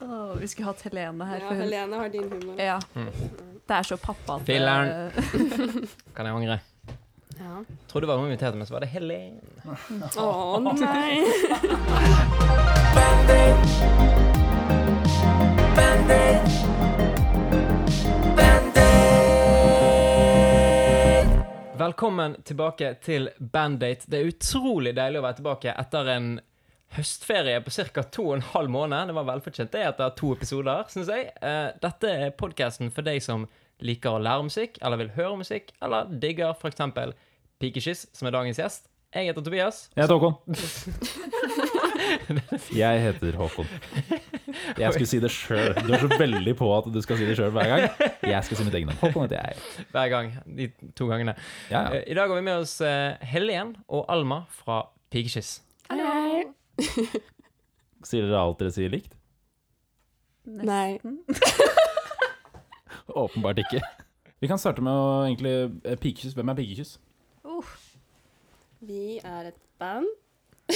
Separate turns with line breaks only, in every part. Åh, vi skulle hatt Helene her.
Ja,
for hun-
Helene har din humor.
Ja.
Mm.
Det er så pappa at eh,
Filler'n. Kan jeg angre?
Ja.
Tror det var hun inviterte meg, så var det Helen.
Å nei.
Velkommen tilbake til Bandate. Det er utrolig deilig å være tilbake etter en høstferie på ca. to og en halv måned. Det var velfortjent det etter to episoder, syns jeg. Eh, Dette er podkasten for deg som liker å lære musikk, eller vil høre musikk, eller digger f.eks. Pikekyss, som er dagens gjest. Jeg heter Tobias.
Jeg heter Håkon. Jeg heter Håkon. Jeg skulle si det sjøl. Du er så veldig på at du skal si det sjøl hver gang. Jeg skal si mitt eget navn. Håkon heter jeg.
Hver gang. De to gangene.
Ja, ja.
Eh, I dag har vi med oss eh, Helen og Alma fra Pikekyss.
Hei.
Sier dere alt dere sier likt?
Nei.
Åpenbart ikke. Vi kan starte med å egentlig eh, Pikekyss. Hvem er pikekyss?
Vi er et band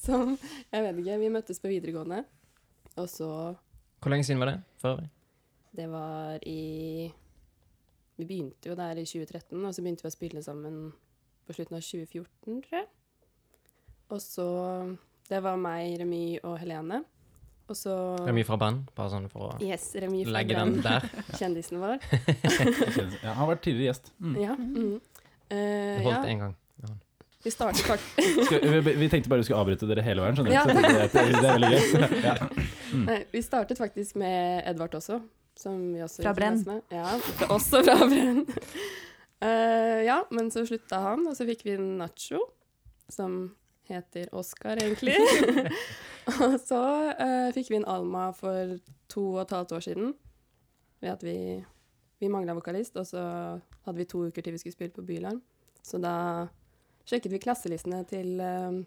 som Jeg vet ikke. Vi møttes på videregående, og så
Hvor lenge siden var det? For øvrig?
Det var i Vi begynte jo der i 2013, og så begynte vi å spille sammen på slutten av 2014, tror jeg. Og så Det var meg, Remy og Helene. Og så
Det er mye fra band, bare sånn for å
Yes, Remy fra
legge den
Gran,
der.
kjendisen vår.
Kjennes- Ja, han har vært tidligere gjest. Mm.
Ja. Mm. Eh,
Det
ja,
holdt én gang.
vi startet faktisk
Skal, vi, vi tenkte bare vi skulle avbryte dere hele veien, skjønner du.
Ja.
Så Det, det er veldig gøy. Ja.
Nei, vi startet faktisk med Edvard også. Som vi også
Fra Brenn.
jobbet Med. Ja, fra- også fra Brenn. Eh, ja, men så slutta han, og så fikk vi Nacho, som heter Oscar, egentlig. og så eh, fikk vi en Alma for to og et halvt år siden. Ved at vi, vi mangla vokalist, og så hadde vi to uker til vi skulle spille på Bylarm. Så da sjekket vi klasselistene til, eh,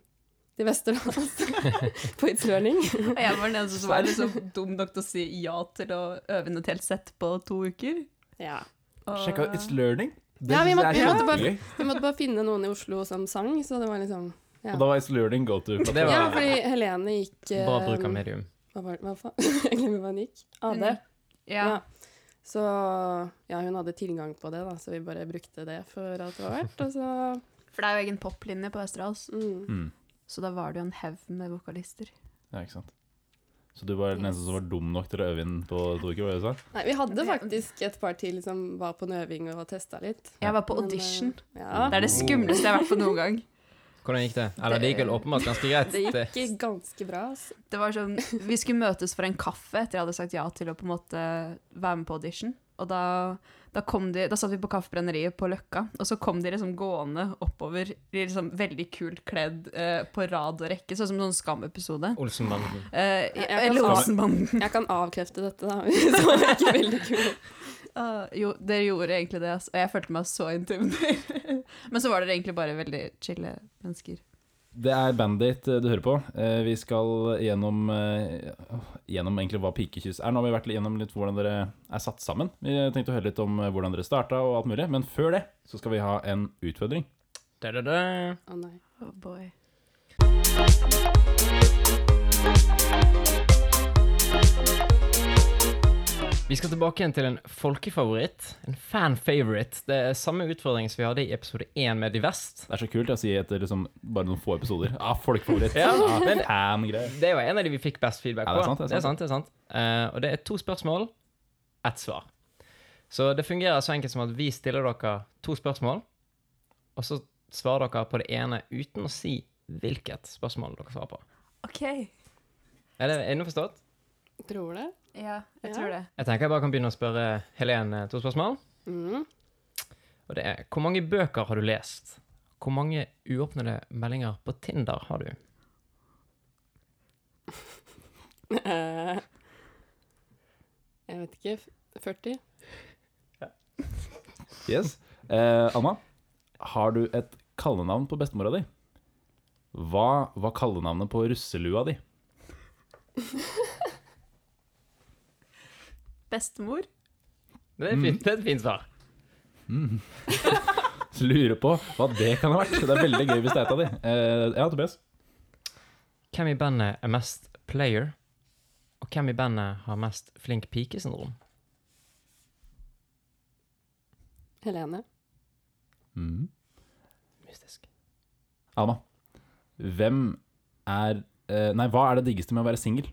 til Vesterålen altså. på It's Learning.
Og jeg var den eneste som var liksom dum nok til å si ja til å øve inn et helt sett på to uker.
Ja.
Og-
Sjekk out It's Learning. Det
Ja, vi må-
synes
vi
jeg er
måtte bare-
kjempegøy.
Vi måtte bare finne noen i Oslo som sang, så det var liksom ja.
Og da var It's Learning go to.
Det var
ja, fordi Helene gikk eh,
bra bruk av medium.
Hva var hva faen? Jeg glemmer hva hun gikk. AD.
eh, Ja.
Ja. Så ja, hun hadde tilgang på det, da, så vi bare brukte det for alt det var verdt. Og så
For det er jo egen poplinje på Østerdals,
mm.
Mm.
så da var det jo en haug med vokalister.
Ja, ikke sant. Så du var den eneste som var dum nok til å øve inn på to uker? var det du sa?
Nei, vi hadde faktisk et par til som var på en øving og testa litt.
Jeg var på
Men, eh,
audition.
Ja.
Mm.
Det er
Oh.
det skumleste jeg har vært på noen gang.
Hvordan gikk det? Eller det gikk vel åpenbart ganske greit.
Det gikk ganske bra. ass.
Det var sånn, Vi skulle møtes for en kaffe etter jeg hadde sagt ja til å på en måte være med på audition. Og da, da, kom de, da satt vi på Kaffebrenneriet på Løkka, og så kom de liksom gående oppover i liksom veldig kult kledd eh, på rad og rekke, sånn som en sånn Skam-episode.
Olsenbanden.
Eh,
jeg kan
eller
ta-
Olsenbanden.
Jeg kan avkrefte dette, da. Vi så ikke veldig kul ut.
Ah, jo, dere gjorde egentlig det, ass. og jeg følte meg så intimidert. Men så var dere egentlig bare veldig chille mennesker.
Det er Bandit eh, du hører på. Eh, Vi skal gjennom, eh, åh, gjennom egentlig hva pikekyss er. Nå har vi vært gjennom litt hvordan dere er satt sammen. Vi tenkte å høre litt om eh, hvordan dere starta og alt mulig. Men før det så skal vi ha en utfordring.
Da, da, da.
Å nei.
Oh boy.
Vi skal tilbake igjen til en folkefavoritt. En fanfavorite. Det er samme utfordring som vi hadde i episode én med De Vest.
Det er så kult å si etter liksom bare noen få episoder. Ah, folkefavoritt.
Ja, men-
Fan-greier.
Det er jo en av de vi fikk best feedback
Ja,
på.
det er sant, det er
det er sant, det er sant. Eh, og det er to spørsmål, ett svar. Så det fungerer så enkelt som at vi stiller dere to spørsmål, og så svarer dere på det ene uten å si hvilket spørsmål dere svarer på.
OK.
Er det er det forstått?
Tror det.
Ja, jeg
Ja.
tror det.
Jeg tenker jeg bare kan begynne å spørre Helene to spørsmål.
Mm.
Og det er Hvor mange bøker har du lest? Hvor mange uåpnede meldinger på Tinder har du?
Eh, Jeg vet ikke. f- 40?
Yes. Eh, Anna, har du et kallenavn på bestemora di? Hva var kallenavnet på russelua di?
Bestemor?
Det er, et fint, det er et fint svar.
Mm. Lurer på hva det kan ha vært. Det er veldig gøy hvis det er et av de. Eh, ja, Tobias.
Hvem i bandet er mest player? Og hvem i bandet har mest flink pike-syndrom?
Helene.
Mm.
Mystisk.
Alma, hvem er eh, Nei, hva er det diggeste med å være singel?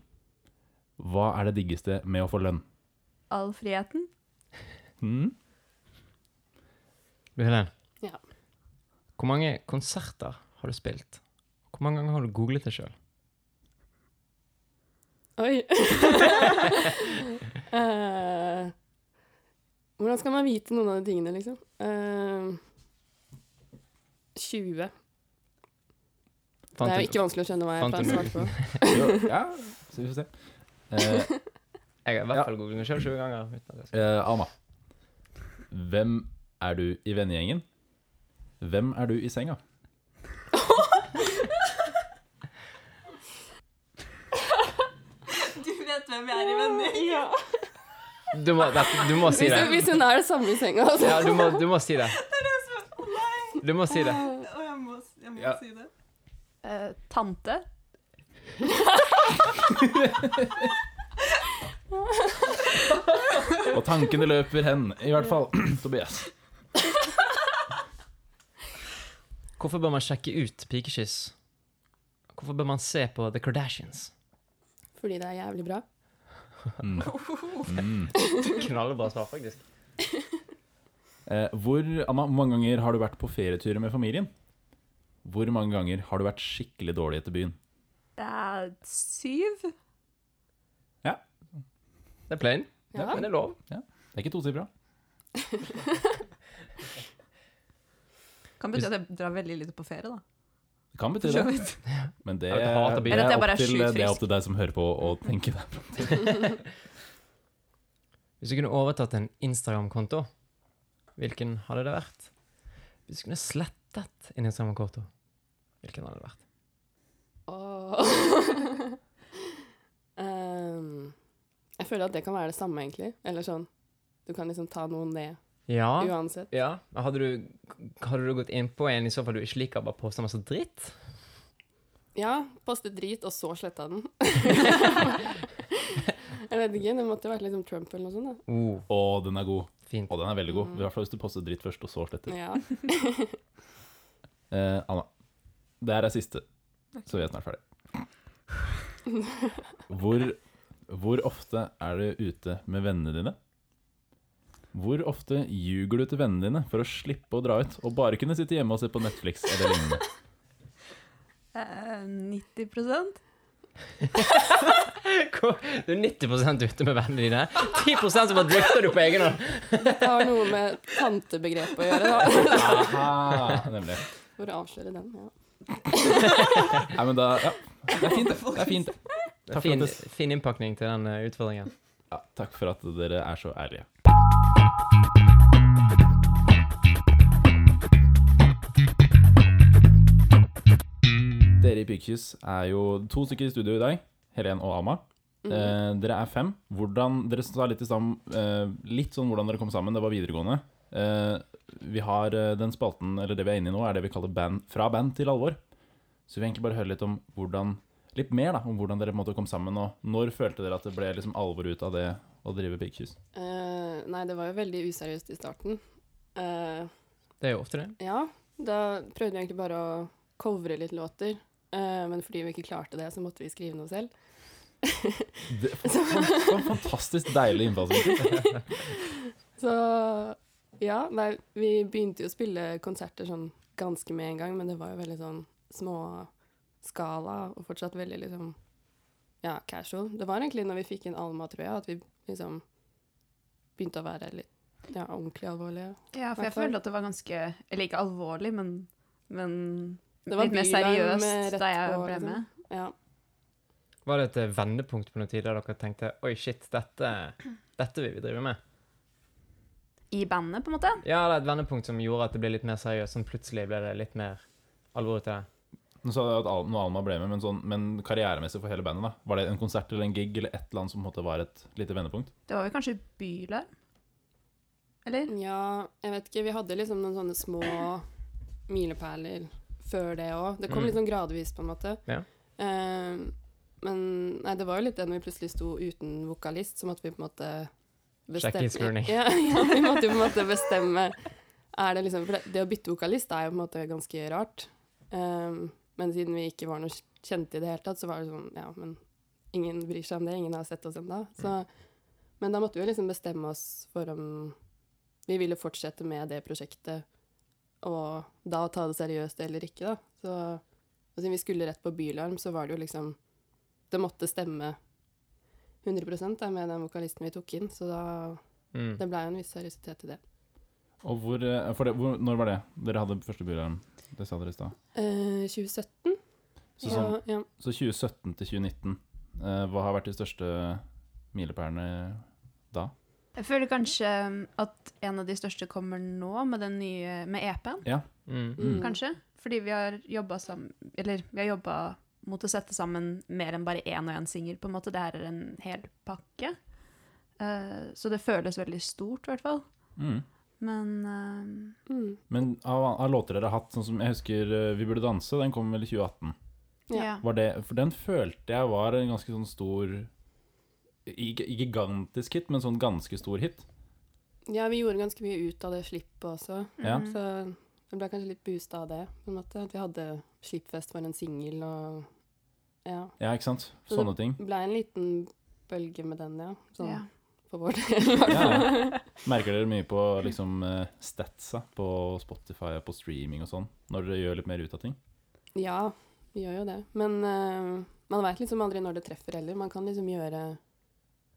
Hva er det diggeste med å få lønn?
All friheten.
Mm.
Du, Helen.
Ja.
Hvor mange konserter har du spilt? Hvor mange ganger har du googlet det sjøl?
Oi! Eh, hvordan skal man vite noen av de tingene, liksom? Eh, 20. Det er jo ikke vanskelig å skjønne hva jeg
fant
pleier å svare
en-
på.
Jo, ja, så vi får se. Eh,
Jeg har i hvert
Ja.
fall googlet meg sjøl 20 ganger. Uten at jeg skal.
Eh, Alma, hvem er du i vennegjengen? Hvem er du i senga?
Du vet hvem jeg er i venner.
Ja.
Du, må, dette, du må si
Hvis,
det.
hun- hvis hun er det samme i senga, altså.
Ja, du må, du må si det. Du må si det.
Å, jeg må, jeg må
Ja.
si det. Eh, tante.
Og tankene løper hen, i hvert fall Tobias.
Hvorfor bør man sjekke ut pikekyss? Hvorfor bør man se på The Kardashians?
Fordi det er jævlig bra.
Mm. Mm.
Knallbra svar, faktisk.
Eh, hvor, Anna, hvor mange ganger har du vært på ferieturer med familien? Hvor mange ganger har du vært skikkelig dårlig etter byen?
Det er syv.
Det er plain,
Ja.
men det er lov.
Det er ikke tosifra.
Kan bety at jeg drar veldig lite på ferie, da.
Det kan bety
For så
det,
vidt.
men det,
Jeg hater byen.
det,
Eller at
er
jeg bare
opp
er
til,
sjukt
det er
frisk.
opp til deg som hører på, å tenke det.
Hvis du kunne overtatt en Instagram-konto, hvilken hadde det vært? Hvis du kunne slettet en Instagram-konto, hvilken hadde det vært?
Åh. Ehm, jeg føler at det kan være det samme, egentlig. Eller sånn. Du kan liksom ta noe ned
Ja.
uansett.
ja. men Hadde, du, hadde du gått inn på en i så fall du ikke liker, bare posta masse dritt?
Ja, poste drit, og så sletta den. jeg vet ikke, det måtte jo vært liksom Trump eller noe sånt. da.
Oh,
Å, den er god.
fint.
Å, den er veldig
Mm.
god. I hvert fall hvis du poster dritt først, og så sletter.
Ja.
Eh, Anna, det her er siste, så vi er snart ferdig. Hvor, hvor ofte er du ute med vennene dine? Hvor ofte ljuger du til vennene dine for å slippe å dra ut og bare kunne sitte hjemme og se på Netflix eller lignende?
Eh, 90
Du er 90 ute med vennene dine. 10 som bare drifter du på egen hånd.
Det har noe med tantebegrepet å gjøre, da.
Aha, nemlig.
For å avsløre den. ja.
Nei, men da, ja, det er fint, det. det, er fint, det. Takk for,
Fin,
at det-
fin innpakning til den eh, utfordringen.
ja, takk for at dere er så ærlige. Dere i Pikekyss er jo to stykker i studio i dag. Helen og Alma. Eh, dere er fem. Hvordan, dere sa litt, i sammen, eh, litt sånn hvordan dere kom sammen. Det var videregående. Eh, vi har eh, den spalten, eller det vi er inne i nå, er det vi kaller band, Fra band til alvor. Så vi vil egentlig bare høre litt om hvordan Litt mer da, om hvordan dere på en måte kom sammen, og når følte dere at det ble liksom alvor ut av det å drive Pikekyss?
Eh, nei, det var jo veldig useriøst i starten. Eh,
Det er jo ofte det.
ja, da prøvde jeg egentlig bare å covre litt låter. eh, men fordi vi ikke klarte det, så måtte vi skrive noe selv.
Det var en fantastisk deilig innfallsvinkel.
Så ja, nei, vi begynte jo å spille konserter sånn ganske med en gang, men det var jo veldig sånn småskala og fortsatt veldig liksom ja, casual. Det var egentlig når vi fikk inn Alma, tror jeg, at vi liksom begynte å være litt ja, ordentlig alvorlige.
Ja, for jeg
Hvertfall.
følte at det var ganske Eller ikke alvorlig, men, men
Det var
litt mer
bylarm, eh,
seriøst
rett
da jeg
på,
ble
liksom.
med.
Ja.
Var det et eh, vendepunkt på noen tid der dere tenkte oi, shit, dette, dette vil vi drive med?
I bandet, på en måte.
Ja, det er et vendepunkt som gjorde at det ble litt mer seriøst. Sånn plutselig ble det litt mer alvor ut av det.
Nå sa du at Al- når Alma ble med, men, sånn, men karrieremessig for hele bandet, da? Var det en konsert eller en gig eller et eller annet som på en måte var et lite vendepunkt?
Det var vel kanskje Bylarm? Eller?
ja, jeg vet ikke. Vi hadde liksom noen sånne små milepæler før det òg. Det kom liksom
Mm.
litt sånn gradvis, på en måte.
Ja.
Eh, Men nei, det var jo litt det når vi plutselig sto uten vokalist, så måtte vi på en måte
Sjekk innsmurning.
Ja, ja, vi måtte jo på en måte bestemme er det liksom, For det, det å bytte vokalist er jo på en måte ganske rart. Ehm, men siden vi ikke var noe kjente i det hele tatt, så var det sånn Ja, men ingen bryr seg om det. Ingen har sett oss ennå. Så Men da måtte vi jo liksom bestemme oss for om vi ville fortsette med det prosjektet, og da ta det seriøst eller ikke, da. Så og siden vi skulle rett på Bylarm, så var det jo liksom Det måtte stemme 100 da, med den vokalisten vi tok inn, så da
Mm.
Det blei jo en viss seriøsitet i det.
Og hvor, eh, for det, hvor, når var det dere hadde første bylarm? Det sa dere i stad.
Eh, 2017?
Så,
ja,
sånn,
ja.
så 2017 til 2019, eh, hva har vært de største milepælene da?
Jeg føler kanskje at en av de største kommer nå, med den nye med E EP-en,
Mm.
Mm.
kanskje. Fordi vi har jobba sammen Eller vi har jobba mot å sette sammen mer enn bare én og én singel, på en måte. Det her er en hel pakke. Eh, så det føles veldig stort, i hvert fall.
Mm.
Men eh,
Mm.
Men av, av låter dere har hatt, sånn som jeg husker eh, Vi burde danse, den kom vel i 2018.
Ja.
ja.
Var det, for den følte jeg var en ganske sånn stor ikke ikke gigantisk hit, men sånn ganske stor hit.
ja, vi gjorde ganske mye ut av det slippet også,
Ja.
Mhm.
så det blei kanskje litt boosta av det, på en måte. At vi hadde slippfest var en singel og Ja.
Ja, ikke sant?
Så
Sånne ting.
Det blei en liten bølge med den, ja. Sånn
ja.
for vår del. i hvert
Ja,
fall.
Merker dere mye på liksom, eh, statsa på Spotify og på streaming og sånn, når dere gjør litt mer ut av ting?
ja, vi gjør jo det. Men eh, man veit liksom aldri når det treffer heller. Man kan liksom gjøre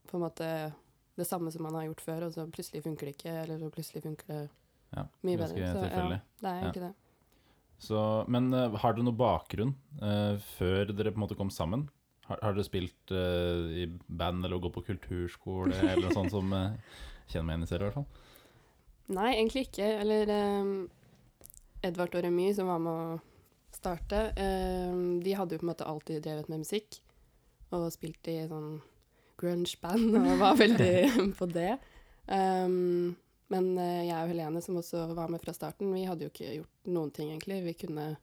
på en måte det samme som man har gjort før, og så plutselig funker det ikke, eller så plutselig funker det
Ja,
Mye bedre,
ganske
så, ja.
tilfeldig.
Det er
Ja.
egentlig det.
Så, men eh, har dere noe bakgrunn eh, før dere på en måte kom sammen? Har, har dere spilt eh, i band eller gått på kulturskole eller noe sånt som eh, kjenner meg igjen i selv i hvert fall?
Nei, egentlig ikke. Eller ehm, Edvard og Remy, som var med å starte, ehm, de hadde jo på en måte alltid drevet med musikk. Og spilt i sånn grunge-band og var veldig på det. Ehm, men eh, jeg og Helene, som også var med fra starten, vi hadde jo ikke gjort noen ting, egentlig. Vi kunne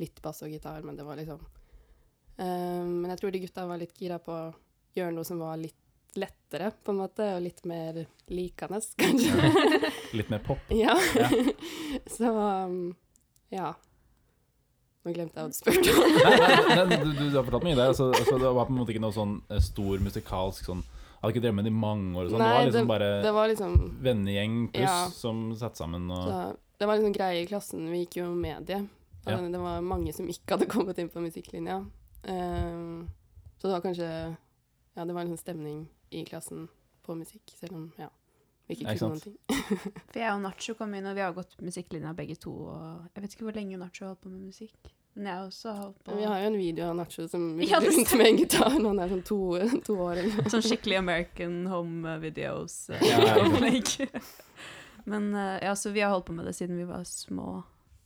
litt bass og gitar, men det var liksom Ehm, Men jeg tror de gutta var litt gira på å gjøre noe som var litt lettere, på en måte, og litt mer likende, kanskje.
Litt mer pop?
Ja.
Ja.
så um, ja. Nå glemte jeg hva du spurte om.
Nei, nei, nei, du, du, du har fortalt mye der. Altså, altså, det var på en måte ikke noe sånn eh, stor musikalsk sånn Jeg hadde ikke drevet med det i mange år. og Sånn. Det
Nei,
var liksom bare
Det var liksom
vennegjeng pluss
Ja.
som satt sammen og
så, Det var liksom greie i klassen. Vi gikk jo medie.
Ja.
Og Det var mange som ikke hadde kommet inn på musikklinja. Um, så det var kanskje Ja, det var liksom stemning i klassen på musikk, selv om ja, vi ikke
Ikke
kunne noen
sant?
ting.
For jeg og Nacho kom inn, og vi har gått musikklinja begge to. Og jeg vet ikke hvor lenge Nacho har holdt på med musikk. Men jeg har også holdt
Men vi
på
har jo en video av Nacho som
Ja,
går
det
rundt med en gitar når han er sånn to, to år eller noe.
sånn skikkelig American Home
Ja, ja, ja.
Videos-opplegg. Men eh, ja, så vi har holdt på med det siden vi var små.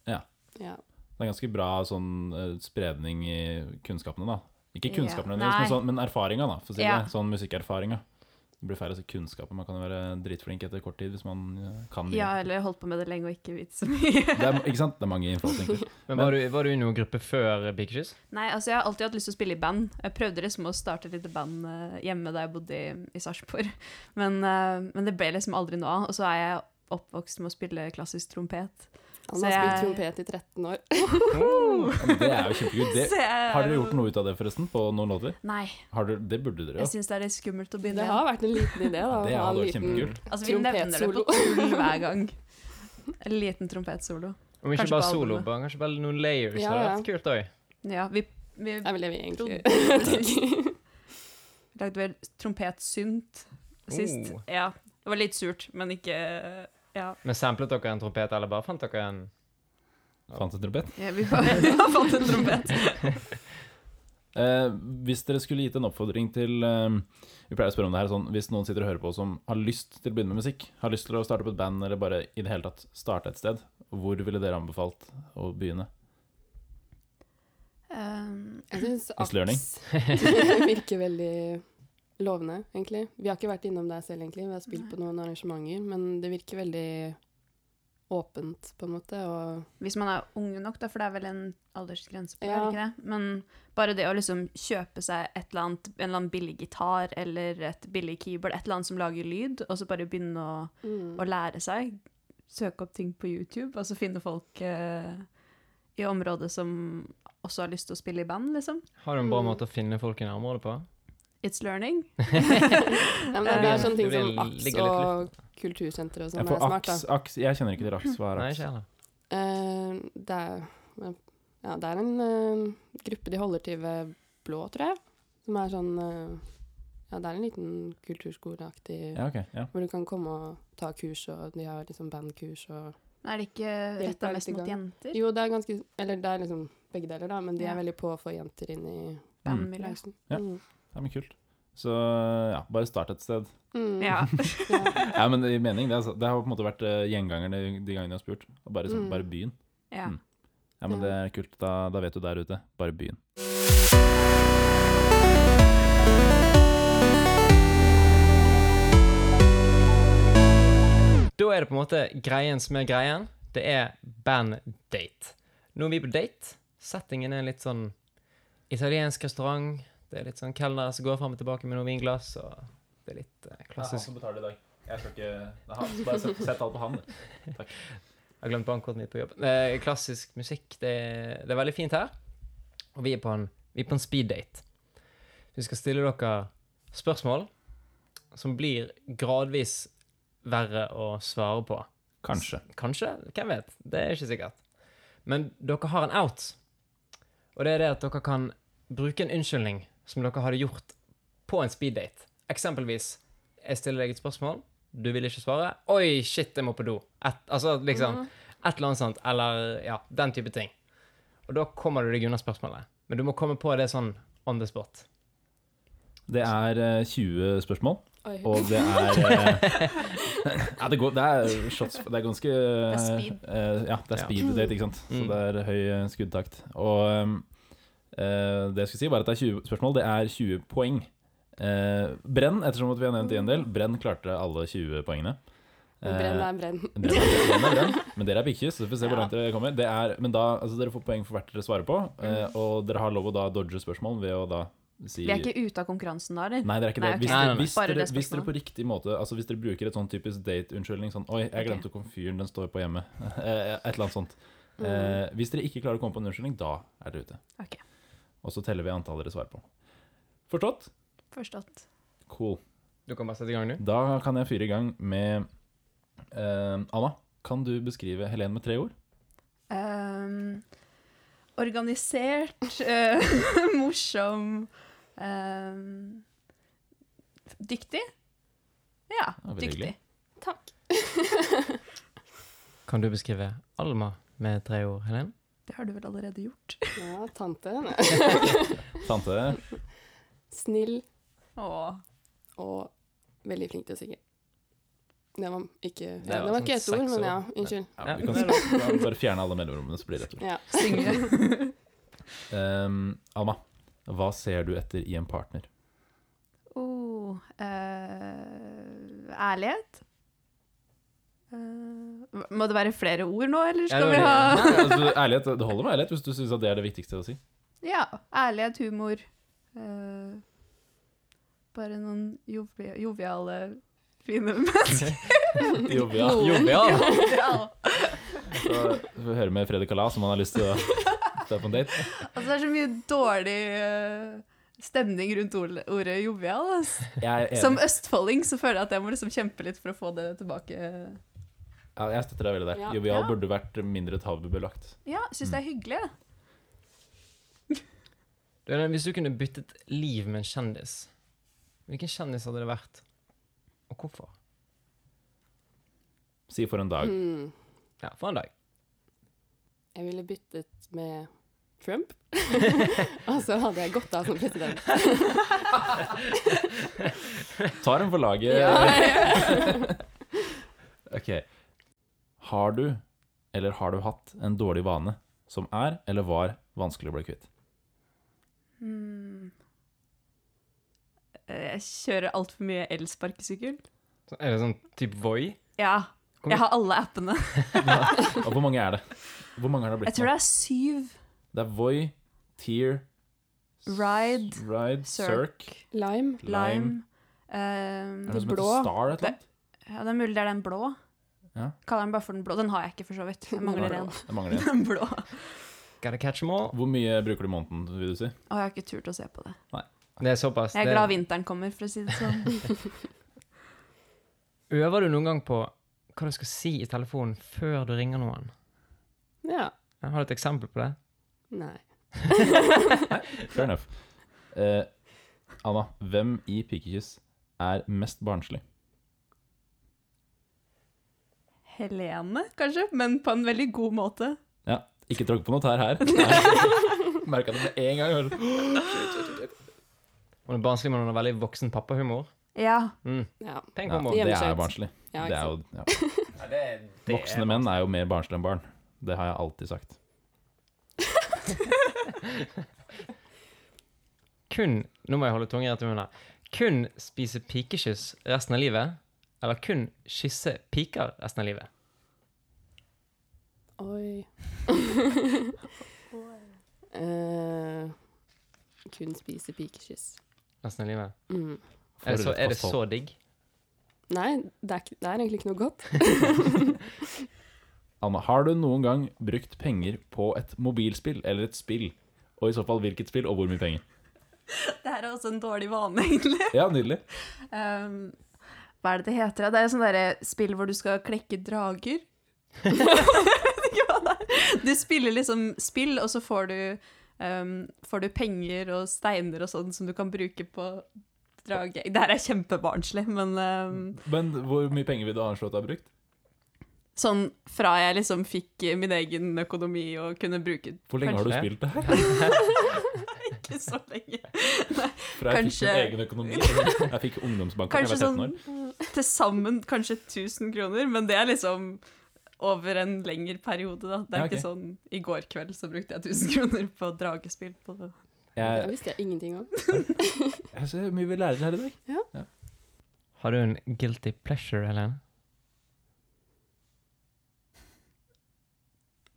Ja.
Det er ganske bra sånn eh, spredning i kunnskapene, da. Ikke
Ja.
kunnskapene,
Nei.
men, sånn, men erfaringa, da. For å si
Ja.
det. Sånn musikkerfaringa. Det blir færre altså, kunnskaper. Man kan jo være dritflink etter kort tid hvis man eh, kan mye.
Ja, eller holdt på med det lenge og ikke vite så mye.
Det er, ikke sant? Det er mange innfallsvinkler.
Men var du, var du i noen gruppe før Big Shoes?
Nei, altså jeg har alltid hatt lyst til å spille i band. Jeg prøvde liksom å starte et lite band eh, hjemme da jeg bodde i, i Sarpsborg, men, eh, men det ble liksom aldri noe av. Og så er jeg oppvokst med å spille klassisk trompet.
Han
Så
har spilt
jeg-
trompet i 13 år.
Det er jo kjempekult. Det-
Så jeg-
Har dere gjort noe ut av det, forresten? På noen låter?
Nei.
Har dere, det burde dere
Jeg
jo.
syns det er litt skummelt å begynne
Det har vært en liten idé, da. å
Det
ha en
hadde vært
liten-
kjempekult.
Altså, vi nevner det på
Trompetsolo.
tull hver gang. En liten trompetsolo.
Om ikke
Kanskje på
bare solo,
albumet.
bare, kanskje bare noen layers.
Ja,
Ja,
ja.
ja. Kult òg.
Ja, vi, vi
Det er vel det vi egentlig
lagde vel trompetsynt sist.
Oh.
Ja, det var litt surt, men ikke ja.
Men samplet dere en trompet, eller bare fant dere en
Fant en trompet.
ja, vi bare ja, fant en trompet.
Eh, hvis dere skulle gitt en oppfordring til eh, Vi pleier å spørre om det her sånn Hvis noen sitter og hører på som har lyst til å begynne med musikk, har lyst til å starte opp et band eller bare i det hele tatt starte et sted, hvor ville dere anbefalt å begynne?
Um,
Jeg syns
Miss Learning.
virker veldig lovende, egentlig. Vi har ikke vært innom deg selv, egentlig. Vi har spilt på noen arrangementer, men det virker veldig åpent, på en måte. Og
Hvis man er ung nok, da, for det er vel en aldersgrense på det,
Ja.
er det ikke det? Men bare det å liksom kjøpe seg et eller annet, en eller annen billig gitar eller et billig keyboard, et eller annet som lager lyd, og så bare begynne å,
Mm.
å lære seg. Søke opp ting på YouTube, og så finne folk eh, i området som også har lyst til å spille i band, liksom.
Har du en bra
Mm.
måte å finne folk i nærområdet på?
It's learning.
Nei, men det, det er sånne ting
Det
som
vil
AKS
ligge litt
og kultursenteret og
Jeg
sånn
får
er smart.
aks,
Da.
aks Jeg kjenner ikke til aks. Hva er
Nei,
aks?
ikke heller.
Eh, det, er, ja, det er en eh, gruppe de holder til ved Blå, tror jeg. Som er sånn eh, Ja, det er en liten kulturskoleaktig
Ja, ok. Ja.
Hvor du kan komme og ta kurs, og de har liksom bandkurs og
Er det ikke
Hjelper
retta
litt
mest
i
mot
gang.
jenter?
Jo, det er ganske Eller det er liksom begge deler, da, men de
Ja.
er veldig på å få jenter inn i
Bandmiljø.
bransjen.
Ja.
Mm.
ja, men kult. Så ja, bare start et sted.
Mm.
Ja.
Ja.
Ja, men det gir mening. Det, er, så- det har på en måte vært eh, gjengangerne de gangene jeg har spurt. Og Bare, sånn,
Mm.
bare byen.
ja.
Mm. Ja, men
Ja.
det er kult. Da, da vet du der ute. Bare byen.
Da er det på en måte greien som er greien. Det er band-date. Nå er vi på date. Settingen er litt sånn italiensk restaurant. Det er litt sånn kelnere som går fram og tilbake med noen vinglass. Og det er litt eh, klassisk.
betaler i dag. Jeg skal ikke Bare sett, alt på han.
Jeg har glemt bankkortet mitt på jobb. Eh, klassisk musikk. Det, det er veldig fint her. Og vi er på en, vi er på en speeddate. Vi skal stille dere spørsmål som blir gradvis verre å svare på.
Kanskje.
Kanskje? Hvem vet? Det er ikke sikkert. Men dere har en out. Og det er det at dere kan bruke en unnskyldning som dere hadde gjort på en speeddate. Eksempelvis Jeg stiller deg et spørsmål, du vil ikke svare. Oi, shit, jeg må på do. Et, altså liksom Et eller annet sånt. Eller ja, den type ting. Og da kommer du deg unna spørsmålet. Men du må komme på det sånn on the spot.
Det er eh, 20 spørsmål,
Oi.
og det er eh, ja, det, går, det er shots Det er ganske
er speed.
eh, ja, det er
Ja.
speed date, ikke sant. Så
Mm.
det er høy eh, skuddtakt. Og eh, det jeg skulle si, var at det er 20 spørsmål. Det er 20 poeng. Eh, Brenn, ettersom at vi har nevnt det en del, Brenn klarte alle 20 poengene. Eh,
Men Brenn er brenn.
Brenn er brenn, er brenn. Men dere er pikkjus, så vi får se hvor langt dere kommer. Det er, men da, altså dere får poeng for hvert dere svarer på, eh, og dere har lov å da dodge spørsmål ved å da si
Vi er ikke ute av konkurransen da, eller?
Mm. Nei, dere er ikke
Nei,
det.
ok.
Hvis,
Nei, nei,
dere,
nei.
hvis,
Bare
dere,
det
hvis dere
spørsmålet.
på riktig måte Altså hvis dere bruker et sånn typisk date-unnskyldning sånn Oi, jeg glemte komfyren, den står på hjemme. Eh, Et eller annet sånt. Eh, hvis dere ikke klarer å komme på en unnskyldning, da er dere ute.
Mm. Ok.
Og så teller vi antallet dere svarer på. Forstått?
Forstått.
Cool.
Du kan bare sette i gang, du.
Da kan jeg fyre i gang med eh, Anna, kan du beskrive Helen med tre ord?
Ehm, organisert, eh, morsom, ehm, dyktig. Ja,
Ja, veldig
dyktig.
hyggelig.
Takk.
Kan du beskrive Alma med tre ord, Helen?
Det har du vel allerede gjort?
Ja, tante. Nei.
Tante?
Snill
Åh,
og veldig flink til å synge. Det var ikke, ja,
Det
det
var
var ikke
sånn
ett ord,
seks
men ja.
ord.
Unnskyld.
Ja, du
Ja.
kan du kan bare fjerne alle mellomrommene, så blir det et ord.
Ja.
synge.
Ehm, Alma, hva ser du etter i en partner?
Oh, eh, ærlighet. Eh, må det være flere ord nå, eller skal
Ja, det
vi
var
ha
Nei, altså, ærlighet, Det holder med ærlighet hvis du syns det er det viktigste å si.
Ja, ærlighet, humor. eh, bare noen jovi joviale, fine mennesker.
Jovial.
Jovial!
Ja.
Så får vi høre med Fredrik Kalas om han har lyst til å dra på en date.
Altså, det er så mye dårlig eh, stemning rundt ord- ordet jovial. ass.
Jeg, er enig.
Som østfolding så føler jeg at jeg må liksom kjempe litt for å få det tilbake.
ja, jeg støtter deg veldig der.
Ja.
Jovial
Ja.
burde vært mindre tabubelagt.
Ja, syns det er hyggelig. da.
Du, Ellen, Hvis du kunne byttet liv med en kjendis, hvilken kjendis hadde det vært? Og hvorfor?
Si for en dag.
Mm.
Ja, for en dag.
Jeg ville byttet med Trump, og så hadde jeg gått av som president.
Mm.
Tar en for laget. ok. Har du, eller har du hatt, en dårlig vane som er, eller var, vanskelig å bli kvitt?
Mm. Eh, Jeg kjører altfor mye elsparkesykkel.
Så er det sånn type Voi?
Ja.
Kom
Jeg
igjen.
har alle appene.
Og hvor mange er det? Hvor mange har det
Jeg
blitt
tror
nå?
det er syv.
Det er Voi, Tear,
Ride,
Ride, Circ,
Cirque,
Lime.
Lime
Lime ehm,
Er det noe som
Blå.
heter Star et eller annet?
Ja, det er mulig det er den blå.
Ja.
Kaller den bare for den blå. Den har jeg ikke, for så vidt. Jeg mangler
Nei,
en.
Det mangler en.
Den blå.
Gotta catch them all.
Hvor mye bruker du i måneden, vil du si?
Og jeg har ikke turt å se på det.
Det er såpass.
Jeg er
det-
glad vinteren kommer, for å si det sånn.
Øver du noen gang på hva du skal si i telefonen før du ringer noen?
Ja.
Jeg har du et eksempel på det.
Nei.
Fair enough. Eh, Anna, hvem i Pikekyss er mest barnslig?
Helene, kanskje, men på en veldig god måte.
Ikke tråkk på noe tær her. Merka det med en gang. jeg var sånn,
Hun er barnslig, men hun har veldig voksen pappahumor.
Ja.
Mm.
Ja.
Pen
Ja,
kombo.
Ja.
det er
Hjemmeskjønt.
barnslig.
ja
Det
ikke
er
sant.
jo, ja. Voksne menn er jo mer barnslige enn barn. Det har jeg alltid sagt.
Kun Nå må jeg holde tunga rett i munnen. Kun spise pikekyss resten av livet, eller kun kysse piker resten av livet?
Oi. Eh, kun spise pikekyss.
Resten av livet.
Mm.
For
Er det så,
rødt
er det
kosthold.
så digg?
Nei, det er, ikke, det er egentlig ikke noe godt.
Anna, har du noen gang brukt penger på et mobilspill eller et spill? Og i så fall hvilket spill, og hvor mye penger?
Det her er også en dårlig vane, egentlig.
Ja, nydelig.
Ehm, hva er det det heter? da? Det er sånn derre spill hvor du skal klekke drager. Jeg vet ikke hva det er. du spiller liksom spill, og så får du, ehm, får du penger og steiner og sånn som du kan bruke på drage. Det her er kjempebarnslig, men ehm,
Men hvor mye penger vil du anslå at du har brukt?
sånn fra jeg liksom fikk min egen økonomi og kunne bruke
Hvor lenge har du
Kanskje.
spilt det her?
ikke så lenge.
Fra jeg fikk min
Kanskje-
egen økonomi. Jeg fikk ungdomsbanken da
Kanskje
jeg var 13 år.
sånn til sammen kanskje 1000 kroner, men det er liksom over en lengre periode, da. Det er
Ja, ok.
ikke sånn i går kveld så brukte jeg 1000 kroner på dragespill. På
Det
Jeg,
visste jeg ingenting om.
jeg ser mye vi lærer her i dag.
Har du en guilty pleasure, Helene?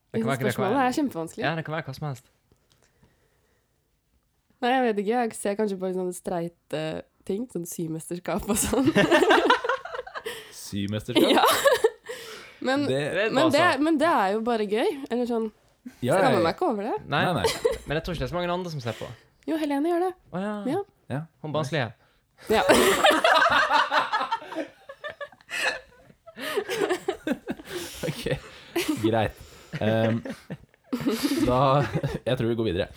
Det kan være- det kan
Spørsmålet
være-
er kjempevanskelig.
Ja, det kan være hva som helst.
Nei, jeg vet ikke. Jeg ser kanskje på sånne streite ting, sånn symesterskap og sånn.
Symesterskap.
ja. Men,
Det,
Det er
men,
bare
det,
sånn.
men det er jo bare gøy. Eller sånn
ja,
Skammer
ja,
meg
ja.
ikke over det.
Nei,
Nei, nei.
men jeg tror ikke det er så mange andre som ser på.
Jo, Helene gjør det.
Å ja.
Ja.
Ja.
Hun barnslige.
Ja.
Ok, greit. Ehm, da Jeg tror vi går videre.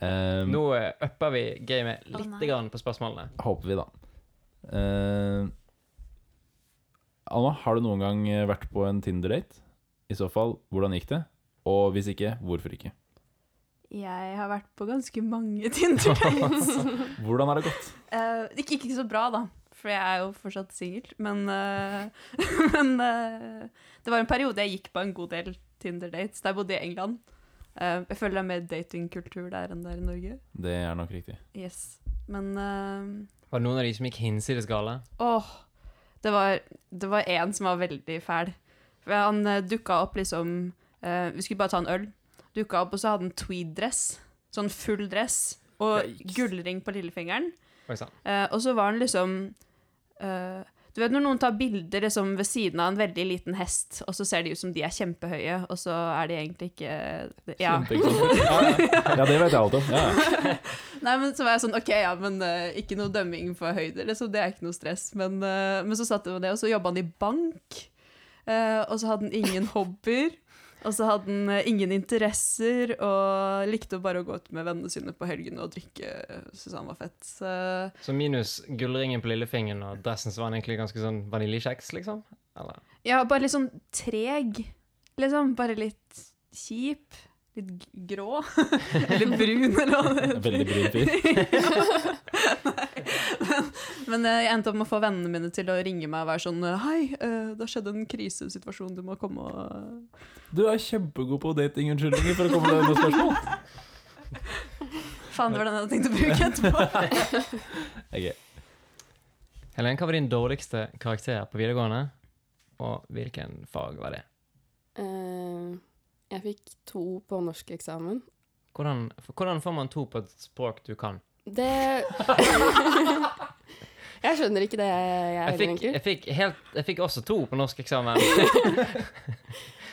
Ehm,
Nå eh, upper vi gamet litt
nei.
grann på spørsmålene.
Håper vi, da. Ehm, Anna, har du noen gang vært på en Tinder-date? I så fall, hvordan gikk det? Og hvis ikke, hvorfor ikke?
jeg har vært på ganske mange Tinder-dates.
Hvordan har det gått?
Eh, ikke, ikke så bra, da, for jeg er jo fortsatt singel, men, eh, men eh, det var en periode jeg gikk på en god del Tinder-dates da jeg bodde i England. Eh, jeg føler det er mer datingkultur der enn det er i Norge.
Det er nok riktig.
Yes. Men eh,
Var det noen av de som gikk hinsides gale?
Åh, det var, det var en som var veldig fæl. For han uh, dukka opp liksom eh, Vi skulle bare ta en øl. Dukka opp, og så hadde han tweed-dress. Sånn full dress. Og
Yikes.
gullring på lillefingeren.
Oi sann.
Eh, og så var han liksom eh, Du vet når noen tar bilder liksom, ved siden av en veldig liten hest, og så ser de ut som de er kjempehøye, og så er de egentlig ikke Ja.
Kjempeeksempel. Ja, ja. ja, det vet jeg alt om. Ja, ja.
Nei, men så var jeg sånn, ok, ja, men eh, ikke noe dømming for høyder, liksom, det er ikke noe stress. Men, eh, men så satt det jo det, og så jobbet han i bank, eh, og så hadde han ingen hobbyer, og så hadde han eh, ingen interesser, og likte å bare å gå ut med vennene sine på helgene og drikke, eh, synes han var fett. Så,
Så minus gullringen på lillefingeren og dressen, så var han egentlig ganske sånn vaniljekjeks, liksom? Eller?
ja, bare litt sånn treg, liksom, bare litt kjip, litt g- grå, eller brun, eller hva det heter.
Veldig brun fyr.
Men eh, jeg endte opp med å få vennene mine til å ringe meg og være sånn Hei, eh, det har skjedd en krisesituasjon, du må komme og
Du er kjempegod på datingunnskyldninger for å komme med noen spørsmål.
Faen, det var den jeg hadde tenkt å bruke etterpå.
Ok.
Helen, hva var din dårligste karakter på videregående? og hvilken fag var det?
Eh, jeg fikk to på norskeksamen.
Hvordan, hvordan får man to på et språk du kan?
Det Jeg skjønner ikke det jeg
Jeg
heller,
fikk,
egentlig.
jeg fikk, helt, jeg fikk også to på norskeksamen.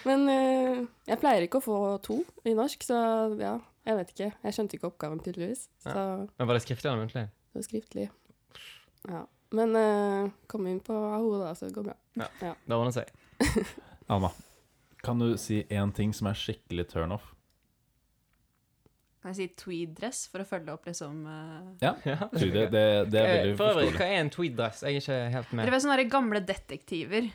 Men eh, jeg pleier ikke å få to i norsk, så ja, jeg vet ikke. Jeg skjønte ikke oppgaven, tydeligvis.
Ja.
Så
Men var det skriftlig eller muntlig?
det var skriftlig. Ja. Men eh, kom inn på AHO, da, så det går bra.
Det ordner seg.
Alma, kan du si én ting som er skikkelig turnoff?
Kan jeg si tweed-dress for å følge opp liksom eh,
Ja.
Det, det, det er
Eh,
veldig
For øvrig,
forståelig.
hva er en tweed-dress? Jeg er ikke helt
Dere
med.
vet sånne der gamle detektiver.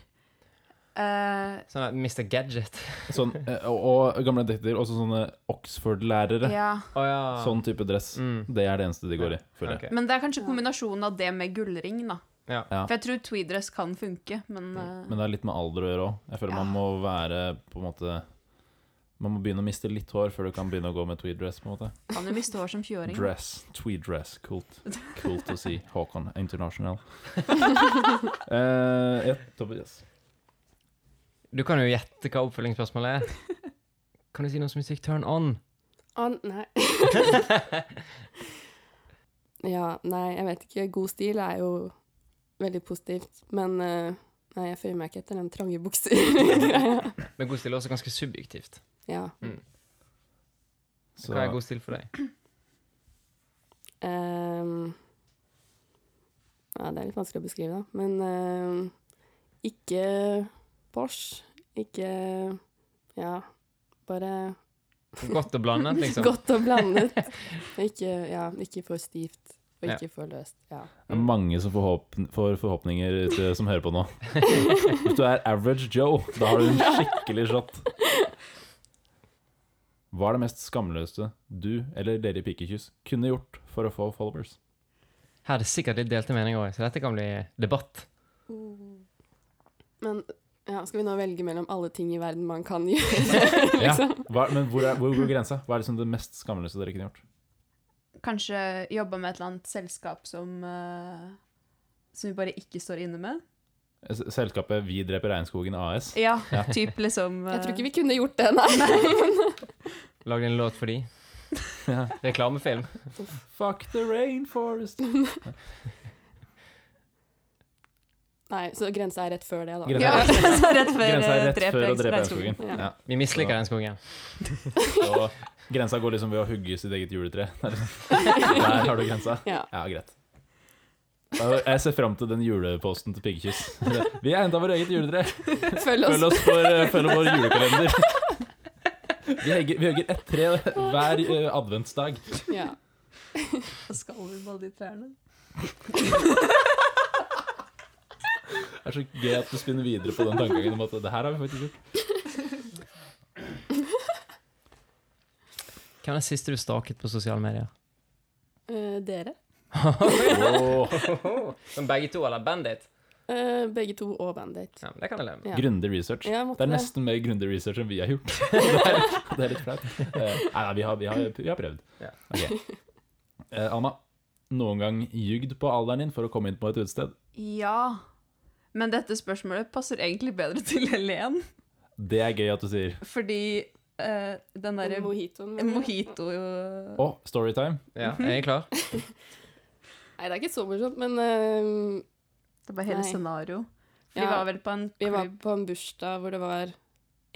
Eh,
Sånn at Mr. Gadget.
Sånn, eh, og, og gamle detektiver, også sånne Oxford-lærere.
Eh, ja.
Å ja.
Sånn type dress.
Mm.
Det er det eneste de går i, føler jeg.
Ok.
Men det er kanskje
Ja.
kombinasjonen av det med gullring, da.
Ja.
Ja.
For jeg tror tweed-dress kan funke, men eh,
Men det er litt med alder å gjøre òg. Jeg føler
Ja.
man må være på en måte Man må begynne å miste litt hår før du kan begynne å gå med tweed dress. på en måte
kan jo miste hår som 20-åring.
Dress, Tweed dress. Kult. Kult å si. Håkon International. Eh, ja, Tobias.
Du kan jo gjette hva oppfølgingsspørsmålet er. Kan du si noe som musikk turn on?
Å, nei. ja, nei, jeg vet ikke. God stil er jo veldig positivt, men eh, nei, jeg føyer meg ikke etter den trange bukser-greia.
Men god stil er også ganske subjektivt.
ja.
Mm.
Så
Hva er god stil for deg?
Ehm, ja, det er litt vanskelig å beskrive, da. Men ehm, ikke Porsche. Ikke Ja, bare
Godt og blandet, liksom.
godt og blandet. ikke, ja, ikke for stivt, og ikke for løst. Ja.
Det er mange som får, håp, får forhåpninger ute som hører på nå. Hvis du er average Joe, da har du en skikkelig shot. Hva er det mest skamløse du eller dere i Pikekyss kunne gjort for å få followers?
Her er det sikkert litt delte meninger òg, så dette kan bli debatt.
Oh.
Men ja, skal vi nå velge mellom alle ting i verden man kan gjøre? liksom?
Ja, hva, men hvor, er, hvor går grensa? Hva er liksom det mest skamløse dere kunne gjort?
Kanskje jobbe med et eller annet selskap som eh, Som vi bare ikke står inne med.
S- Selskapet Vi dreper regnskogen AS.
Ja, typ liksom
Jeg tror ikke vi kunne gjort det, nei.
Lagde en låt for de.
Ja.
Reklamefilm.
Fuck the rainforest.
Nei, Så grensa er rett før det, da.
Grensa
ja, så rett før
Grensa er
eh,
rett
dreper
før å drepe
regnskogen.
regnskogen. Ja.
Vi misliker den skogen.
Så grensa går liksom ved å hugge sitt eget juletre. Der har du grensa.
Ja.
Ja, greit. Da- Jeg ser fram til den juleposten til Piggekyss. Vi har henta vårt eget juletre.
Følg oss.
Følg oss for eh, følg vår julekalender. Vi hugger, vi hugger ett tre hver eh, adventsdag.
Ja.
Så eh, skal vi med alle de trærne.
Det er så gøy at du spinner videre på den tankegangen om at det her har vi faktisk gjort.
Hvem er den siste du staket på sosiale medier?
Eh, dere?
Åh,
Som begge to, eller Bandit?
Eh, begge to og Band-Aid.
Ja, men det kan jeg leve med.
Ja.
grundig research.
Ja,
Det
måtte
er nesten mer grundig research enn vi har gjort. Det er, det er litt flaut. Eh, Nei, nei, vi har, vi har, vi har prøvd.
Ja.
Ok. Eh, Alma, noen gang ljugd på alderen din for å komme inn på et utested?
Ja. Men dette spørsmålet passer egentlig bedre til Helen,
Det er gøy at du sier.
fordi eh, den derre
Mojitoen. mener du?
mojito eh,
Å, storytime.
Ja, er jeg klar?
Nei, det er ikke så morsomt, men eh,
Det var hele
Nei.
scenario. For
Ja.
vi var vel på en
vi var
klubb.
på en bursdag hvor det var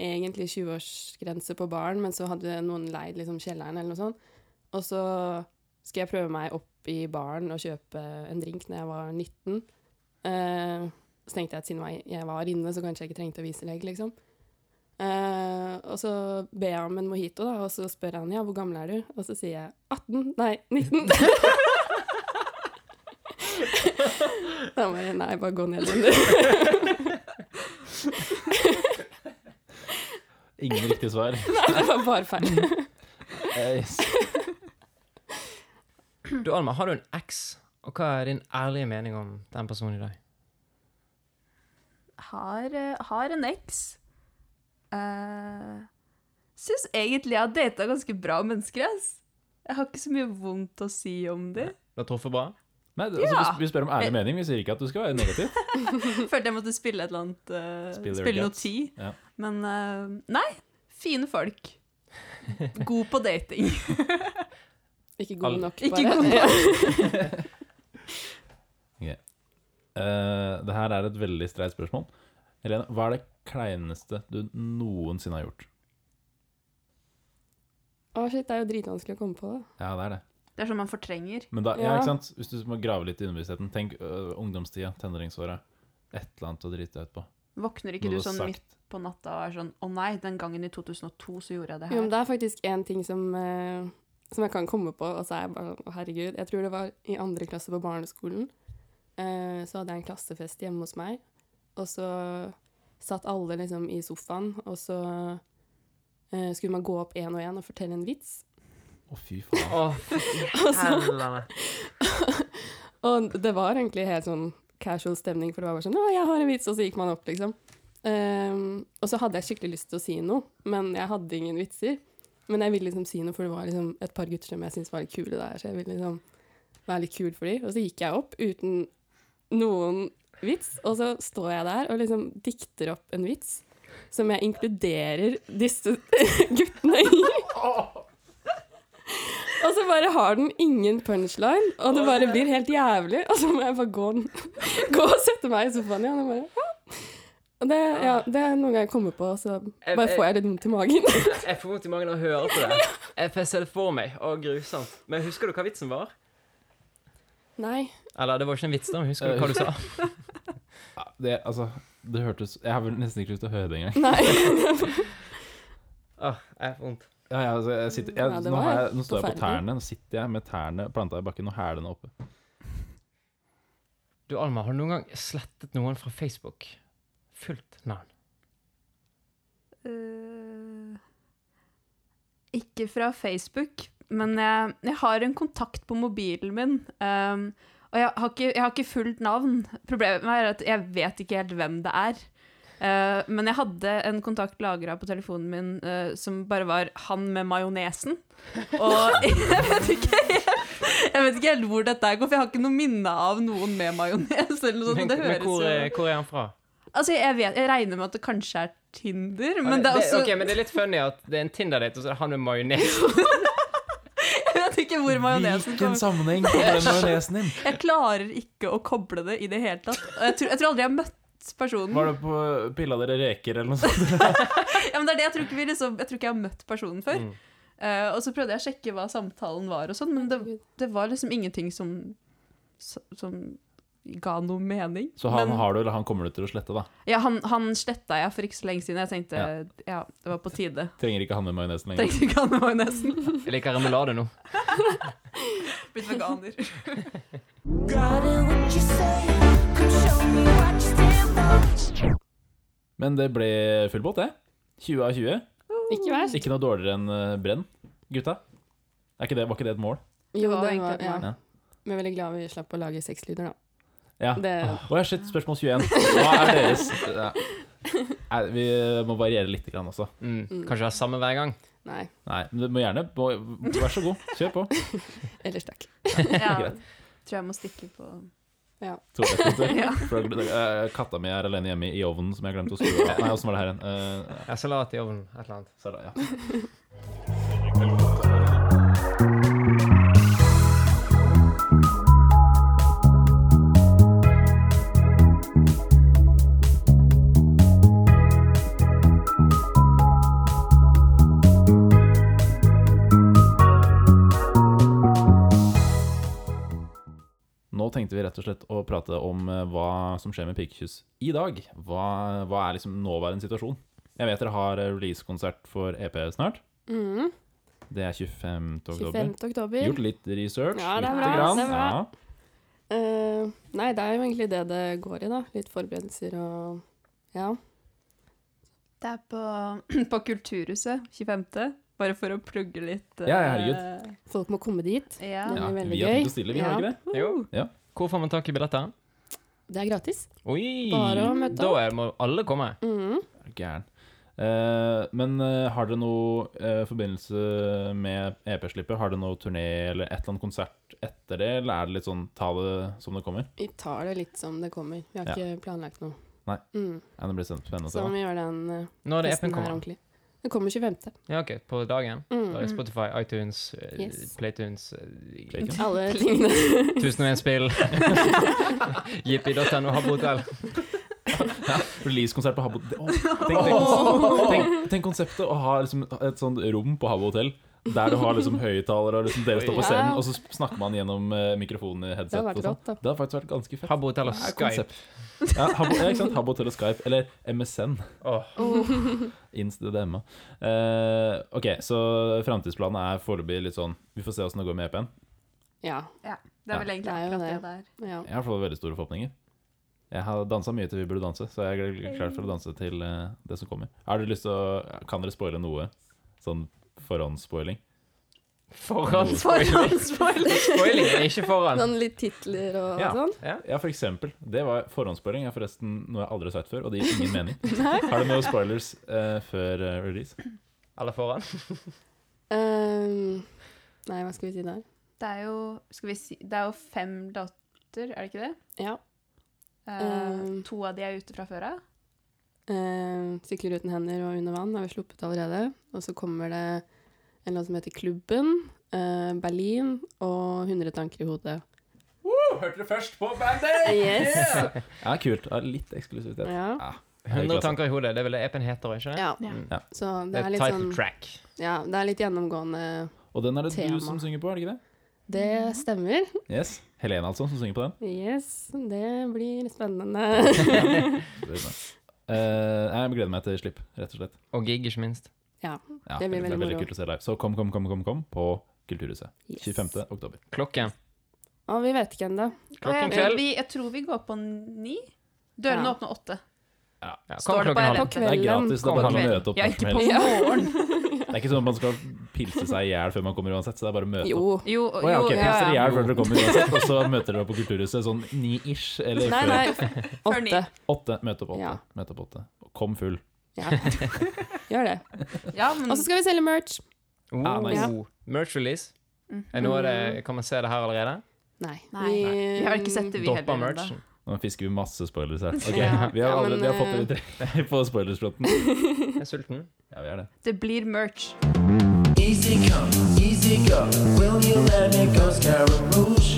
egentlig 20-årsgrense på baren, men så hadde noen leid liksom kjelleren eller noe sånt. Og så skal jeg prøve meg opp i baren og kjøpe en drink når jeg var 19. Eh, så tenkte jeg at siden jeg- jeg var inne, så kanskje jeg ikke trengte å vise legg, liksom. Eh, og så ber jeg om en mojito, da, og så spør han ja, hvor gammel er du? Og så sier jeg 18, nei, 19. da bare nei, bare gå ned under.
Ingen riktig svar.
Nei, det var bare feil.
Eh, s-
Du, Alma, har du en eks? Og hva er din ærlige mening om den personen i dag?
har, eh, har en eks. Uh, Syns egentlig jeg har data ganske bra mennesker. Ass. Jeg har ikke så mye vondt å si om dem.
Du har truffet bra?
Nei, det- altså,
Ja.
vi, vi spør om ærlig mening, vi sier ikke at du skal være negativ.
Følte jeg måtte spille et eller annet eh,
Spill your
Spille noe
guts.
tid.
Ja.
Men eh, nei, fine folk. God på dating.
Ikke god
Al-
nok, bare.
Ikke god nok.
Eh, det her er et veldig streit spørsmål. Helene, hva er det kleineste du noensinne har gjort?
Å, shit, det er jo dritvanskelig å komme på det.
Ja, det er det.
Det er sånn man fortrenger.
Men da,
Ja.
ja, ikke sant? Hvis du må grave litt i underbevisstheten, tenk øh, ungdomstida, tenåringsåra. Et eller annet å drite deg ut på.
Våkner ikke
Noe
du
har
sånn
sagt.
midt på natta og er sånn 'Å nei, den gangen i 2002 så gjorde jeg det
Jo, men
her'.
det er faktisk én ting som, eh, som jeg kan komme på, og så er jeg bare sånn Å, herregud. Jeg tror det var i andre klasse på barneskolen. Eh, så hadde jeg en klassefest hjemme hos meg, og så satt alle liksom i sofaen, og så eh, skulle man gå opp én og én og fortelle en vits.
Å, fy faen.
Å, helvete.
Og det var egentlig helt sånn casual stemning, for det var bare sånn Å, jeg har en vits, og så gikk man opp, liksom. Ehm, og så hadde jeg skikkelig lyst til å si noe, men jeg hadde ingen vitser. Men jeg ville liksom si noe, for det var liksom et par gutter som jeg syntes var litt kule der, så jeg ville liksom være litt kul for dem. Og så gikk jeg opp uten noen vits, og så står jeg der og liksom dikter opp en vits som jeg inkluderer disse guttene i. Og så bare har den ingen punchline, og det bare blir helt jævlig. Og så må jeg bare gå, gå og sette meg i sofaen igjen. Og bare, «Hå?» og det, ja, det er noen ganger jeg kommer på, så
Eh,
bare får jeg litt vondt i magen.
Jeg får vondt i magen av å høre på det. Jeg får se det for meg. Å, grusomt. Men husker du hva vitsen var?
Nei.
Eller, det var ikke en vits, da. men Husker du hva du sa?
Ja, det, altså, det hørtes Jeg har vel nesten ikke lyst til å høre det engang.
Nei.
Å, jeg får vondt.
Ja, ja, altså, jeg sitter,
Ja,
jeg,
det
nå,
var
har jeg, nå står jeg på
forferdelig.
tærne. Nå sitter jeg med tærne planta i bakken og hælene oppe.
Du, Alma, har du noen gang slettet noen fra Facebook? Fullt navn.
Eh, ikke fra Facebook, men jeg, jeg har en kontakt på mobilen min. ehm, og jeg har, ikke, jeg har ikke fullt navn. Problemet er at jeg vet ikke helt hvem det er. Eh, men jeg hadde en kontakt lagra på telefonen min eh, som bare var 'han med majonesen'. Og jeg vet, ikke, helt- jeg vet ikke helt hvor dette her går, for jeg har ikke noe minne av noen med majones. eller noe sånt, og Sånn,
Men,
det
men
høres
hvor,
jo-
er, hvor er han fra?
Altså, jeg, vet, jeg regner med at det kanskje er Tinder, men det
det,
er også
ok, men det er litt funny at det er en Tinder-date, og så er det han med majones.
Jeg vet ikke hvor majonesen kommer
sammenheng kommer den majonesen inn?
Jeg klarer ikke å koble det i det hele tatt. Og jeg tror, jeg tror aldri jeg har møtt personen.
Var det på Pilla dere reker eller noe sånt?
Ja, men det er det, jeg, tror ikke vi liksom, jeg tror ikke jeg har møtt personen før.
Mm.
Eh, og så prøvde jeg å sjekke hva samtalen var, og sånn, men det, det var liksom ingenting som, som ga noe mening.
Så han
men,
har du, eller han kommer du til å slette, da?
ja, han, han sletta jeg for ikke så lenge siden. Jeg tenkte ja, det var på tide.
Trenger ikke han med majonesen lenger.
Tenkte ikke han det var nesten
Jeg liker remulade nå.
blitt veganer.
Got it, what you say. Come show me what you stand for.
Men det ble full båt, det. 20 av 20.
Ikke verst.
Ikke noe dårligere enn eh, Brenn, gutta. Er ikke det, var ikke det et mål?
Jo,
var
det
egentlig
var,
det
ja.
var.
Men jeg er veldig glad vi slapp å lage sexlyder, da.
Ja.
Det-
Åh, ja, shit, spørsmål 21. Hva er deres ja. Nei, Vi må variere litt grann også.
Mm. Kanskje det er samme hver gang.
Nei.
Nei, men du må gjerne må- Vær så god, kjør på.
Ellers takk.
Ja,
Greit.
tror jeg må stikke på
To retter.
Ja.
For jeg gled- eh, Katta mi er alene hjemme i ovnen, som jeg glemte å skru av. Nei, åssen var det her igjen? Eh,
Ja, salat i ovnen, et eller annet.
så da, ja. Nå tenkte vi rett og slett å prate om eh, hva som skjer med Pikekyss i dag. Hva, hva er liksom nåværende situasjon? Jeg vet dere har eh, releasekonsert for EP snart.
Mm.
Det er 25. oktober.
25. oktober.
Gjort litt research.
Ja, det er
lite
bra,
grann.
det er bra.
Ja.
Eh, nei, det er jo egentlig det det går i, da. Litt forberedelser og ja.
Det er på, på Kulturhuset 25. Bare for å plugge litt.
Ja, ja,
eh,
Folk må komme dit.
ja.
Det
Ja,
blir veldig
vi har tenkt
gøy.
å stille, vi har
Ja.
ikke det?
Jo.
Ja.
Hvor får man tak i billetter?
Det er gratis.
Oi!
Bare å møte
Da er- må alle komme.
Mhm.
Er du Gæren. Eh, men eh, E har dere noe eh, forbindelse med EP-slippet? Har dere noe turné eller et eller annet konsert etter det, eller er det litt sånn ta det som det kommer?
Vi tar det litt som det kommer. Vi har
Ja.
ikke planlagt noe.
Nei.
Mm.
Ja, det blir spennende å se.
Så
da.
vi gjør den eh,
Når er det
testen
appen
her
kommer?
ordentlig. Den kommer 25.
Ja, ok, på dagen?
Mm.
Da er det Spotify, iTunes, eh,
Yes.
Playtunes, eh,
Playtunes.
Alle tingene.
1001 spill, jippi.no, Habrotel.
Releasekonsert på Habbo Å, tenk, tenk, tenk, tenk konseptet å ha liksom et sånt rom på Habbo hotell der du har liksom høyttalere, og liksom dere står på scenen, og så snakker man gjennom eh, mikrofonen i
Det
headset.
har vært
og sånn.
rått, da.
Det har faktisk vært ganske fett.
Habrotel og
Det er
Skype.
konsept. Ja, Habbo, ja, ikke sant? Habbo hotell og Skype, eller MSN.
Åh,
Insta-DM-a. Eh, ok, så framtidsplanen er foreløpig litt sånn Vi får se åssen det går med EP-en.
Ja.
Det er vel
Det
egentlig
er jo
akkurat det
det.
det er.
ja.
Jeg har fått veldig store forhåpninger. Jeg har dansa mye til Vi burde danse, så jeg er klar for å danse til eh, det som kommer. Har dere lyst til å Kan dere spoile noe? Sånn forhåndsspoiling?
Forhåndsspoiling.
Forhåndsspoiler!
Spoiling er ikke foran.
Sånn litt titler og
Ja.
sånn.
Ja.
Ja, for eksempel. Det var forhåndsspoiling. er forresten noe jeg aldri har sagt før, og det gir ingen mening. Har du noen spoilers eh, før eh, release?
Eller foran.
Ehm, nei, hva skal vi si der?
Det er jo Skal vi si Det er jo fem datter, er det ikke det?
Ja.
Eh,
Um.
to av de er ute fra før av.
Ehm, sykler uten hender og under vann har vi sluppet allerede. Og så kommer det en låt som heter Klubben, eh, Berlin og 100 tanker i hodet.
Hørte dere først på Bandet!
Yes!
Ja, kult. Ja, litt eksklusivitet. Ah,
Ja.
Ja,
100 tanker i hodet, det ville appen heter, ikke det?
ja.
Ja.
Så
Mm. Det
det
er
er litt
title
sånn
track.
Ja, det er litt gjennomgående.
Og den er det
Tema.
du som synger på, er det ikke det?
Mm.
Det stemmer.
Yes. Helene, altså, som synger på den.
Yes, det blir spennende.
Eh, jeg gleder meg til slipp, rett og slett.
Og gig, ikke minst.
Ja.
Ja,
Det blir veldig moro.
kult å se live. Så kom, kom, kom, kom, kom på Kulturhuset.
Yes.
25. oktober.
Klokken.
Og vi vet ikke ennå.
Og
Klokken
jeg,
kveld.
Eh, vi, jeg tror vi går på ni. Dørene
Ja.
åpner åtte.
Ja, kom
Står det på
klokken halv.
RN?
På
Det er
Det er
kvelden.
gratis. Det er bare å
Kom.
møte opp
Ja,
når
ikke
som
på
helst.
morgenen.
Det er ikke sånn at man skal pilse seg i hjel før man kommer uansett, så det er bare å møte opp.
Jo.
Jo,
Å ja, ok,
jo,
pils dere i
ja.
hjel før dere kommer uansett, og så møter dere opp på Kulturhuset sånn ni-ish, eller
Nei,
før
nei.
Før ni.
Åtte.
åtte. Møt opp åtte.
Ja.
Møt opp åtte. Og Kom full.
Ja. Gjør det.
ja, men
Og så skal vi selge merch.
Ah,
Oh,
nice.
ja. Merch release. Er noe av det, Kan man se det her allerede?
Nei.
Nei. vi har ikke sett det, vi
Doppa
heller. enda.
merchen.
Nå fisker vi masse spoilers her. Ok,
Ja.
Vi har,
Ja,
allerede,
men, eh,
vi har fått dere tre på spoilersfronten.
Jeg er sulten.
Ja, vi er det.
Det blir merch.
Easy come, easy go. Will you let me go, Scaramouche?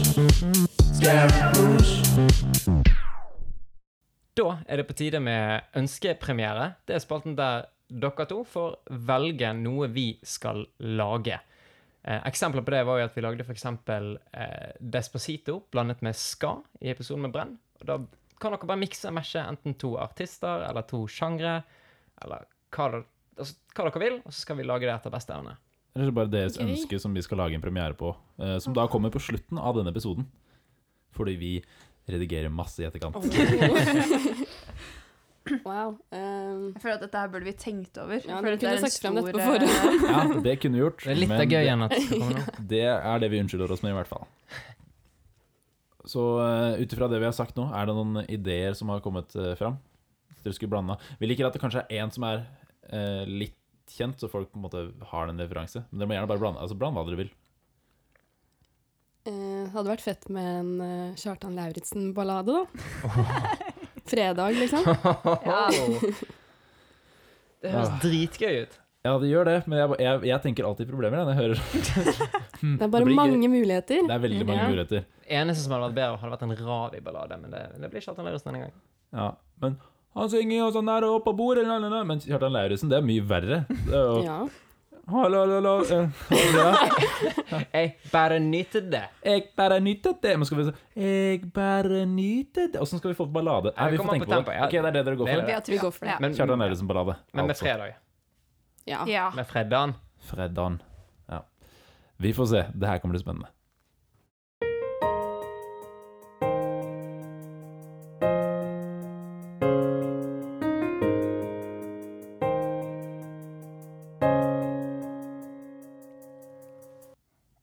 Scaramouche.
Da er det på tide med ønskepremiere. Det er spalten der dere to får velge noe vi skal lage. Eh, eksempler på det var jo at vi lagde f.eks. Eh, Despacito blandet med Ska i episoden med Brenn. Og da kan dere bare mikse og meshe enten to artister eller to sjangre, eller hva, dere- altså, hva dere vil, og så skal vi lage det etter beste evne.
Eller så bare deres
Gøy.
ønske som vi skal lage en premiere på. eh, som da kommer på slutten av denne episoden. Fordi vi redigerer masse i etterkant.
Wow. ehm,
Jeg føler at dette her burde vi tenkt over.
Ja,
for
dere
dette er
kunne
en
sagt frem dette på
stor, eh,
Ja, det kunne vi gjort.
Det er litt
men
av gøy
det-
igjen at det skal komme nå.
Det er det vi unnskylder oss med, i hvert fall. Så eh, ut ifra det vi har sagt nå, er det noen ideer som har kommet eh, fram? Hvis Dere skulle blanda. Vi liker at det kanskje er én som er eh, litt kjent, så folk på en måte har den referanse. Men dere må gjerne bare blande altså, bland hva dere vil.
eh, hadde vært fett med en eh, Kjartan Lauritzen-ballade, da. Fredag, liksom.
Det
Ah.
høres dritgøy ut.
Ja, det gjør det, men jeg, jeg, jeg tenker alltid problemer jeg, når jeg hører Hmm,
Det er bare
blir-
mange muligheter.
Det er veldig mange
Ja.
muligheter.
Eneste som hadde vært bedre, hadde vært en Ravi-ballade, men det, det blir ikke Kjartan Lauritzen denne gangen.
Ja, men han synger jo sånn der oppe på bordet la, la, la. Men Kjartan Lauritzen, det er mye verre. Det er jo,
Ja.
Hallo, hallo, hallo, eh, hallo, ja.
Jeg bare nyter det.
Jeg bare nyter det. Men skal vi så Jeg bare nyter det Åssen skal vi få til ballade?
Ja,
Nei,
vi
vi får
kommer på
tenke på det.
tempo, ja.
Ok, det er det dere går
Det er
for.
vi har
Vi
trua.
går for det.
Ja.
Men,
Kjartan Lauritzen-ballade.
men med
altså.
fredag.
Ja.
Ja.
Med fredagen.
Fredagen. Ja. Vi får se. Det her kommer til å bli spennende.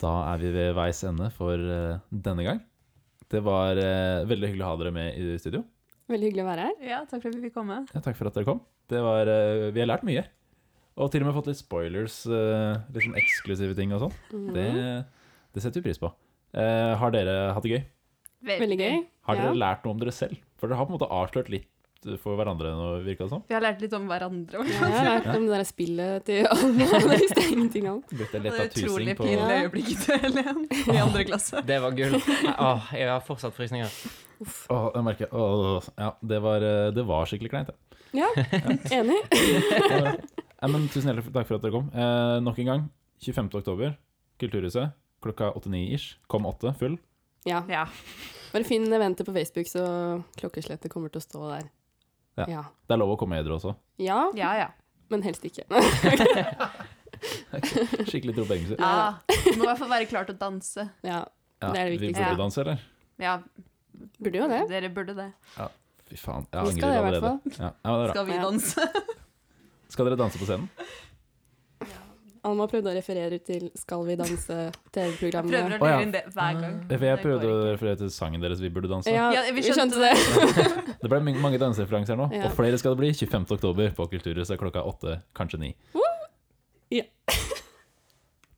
Da er vi ved veis ende for eh, denne gang. Det var eh, veldig hyggelig å ha dere med i studio.
Veldig hyggelig å være her.
ja, takk for at vi fikk komme.
Ja, takk for at dere kom. Det var, eh, vi har lært mye. Og til og med liksom
Mm.
fått litt spoilers, eh, litt sånn eksklusive ting og sånn. Det, det setter vi pris på. Eh, har dere hatt det gøy?
Veldig gøy.
Har dere
Ja.
lært noe om dere selv? For dere har på en måte avslørt litt for hverandre nå, virka det som.
Vi har lært litt om hverandre.
Ja, jeg har lært om det der spillet til alle. Det visste jeg ingenting om.
Blitt en
Det
letta tusing
utrolig
på
pinlige øyeblikket til Helen i andre klasse.
Det var gull. Åh, jeg har fortsatt frysninger.
Åh, jeg merker åh, Ja, det var, eh, det var skikkelig kleint. ja.
Ja, enig.
Eh, Nei, men tusen hjertelig takk for at dere kom. Eh, nok en gang, 25. oktober, Kulturhuset. Klokka 89-ish. Kom åtte, full.
Ja.
Ja.
Bare finn eventet på Facebook, så klokkeslettet kommer til å stå der.
Ja.
Ja.
Det er lov å komme edru også.
Ja,
Ja, ja.
men helst ikke.
Skikkelig droppengelse.
ja. Du må i hvert fall være klar til å danse.
Ja,
Ja,
det er det
vi
viktigste.
burde
Ja.
danse, eller?
Ja,
Burde jo det.
dere burde det.
Fy faen, jeg
Vi skal
angrer
det i hvert
allerede. Ja, ja, men det er bra.
Skal vi
Ja.
danse?
Skal dere danse på scenen?
Alma prøvde å referere til Skal vi danse
Prøver
TV-programmet.
å
Å, ja.
lure inn det hver gang.
Eh, For jeg
Det går
prøvde å referere til sangen deres 'Vi burde danse'.
Ja,
Ja, vi
vi
skjønte
skjønte det.
Det ble mange- mange dansereferanser her nå,
Ja.
og flere skal det bli 25. oktober på Kulturhuset klokka åtte, kanskje ni.
Ja.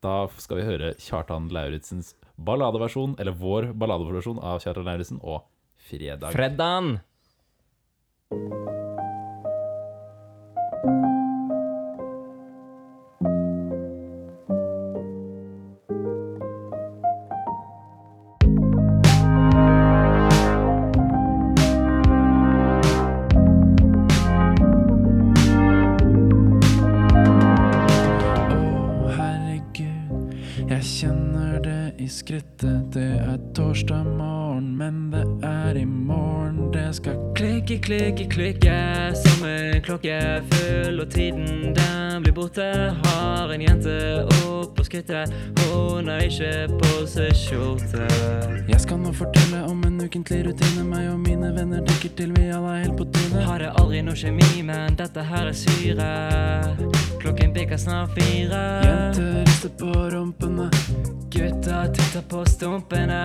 da skal vi høre Kjartan Lauritzens balladeversjon, eller vår balladeversjon av Kjartan Lauritzen og Fredag.
Freddan!
Å, herregud, jeg kjenner det i skrittet. Det er torsdag morgen, men det er i morgen det skal
Klikke, klikke, klikke som en klokke full, og tiden den blir borte. Har en jente opp på skrittet, hun har ikke på seg skjorte.
Jeg skal nå fortelle om en ukentlig rutine. Meg og mine venner drikker til vi alle er helt på trynet.
Hadde aldri noe kjemi, men dette her er syre. Klokken bikker snart fire.
Jenter rister på rumpene.
Gutta titter på stumpene.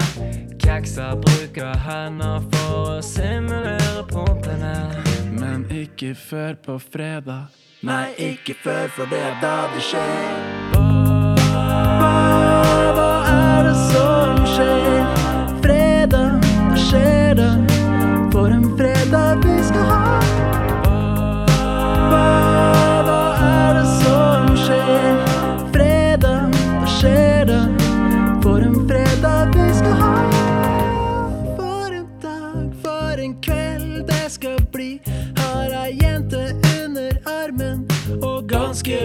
Kjekser bruker hender for å simulere pumpene.
Men ikke før på fredag. Nei, ikke før, for det er da det skjer. Hva, hva er det som skjer? Fredag, hva skjer da? For en fredag vi skal ha. Hva, hva er det som skjer? Fredag, hva skjer da? For en fredag vi skal ha. For en dag, for en kveld det skal bli. Har ei jente under armen og ganske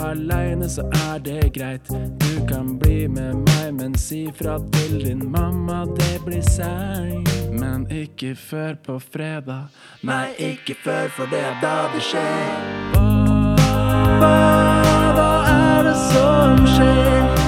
aleine, så er det greit. Du kan bli med meg, men si fra til din mamma, det blir seint. Men ikke før på fredag. Nei, ikke før, for det er da det skjer. Hva, hva er det som skjer?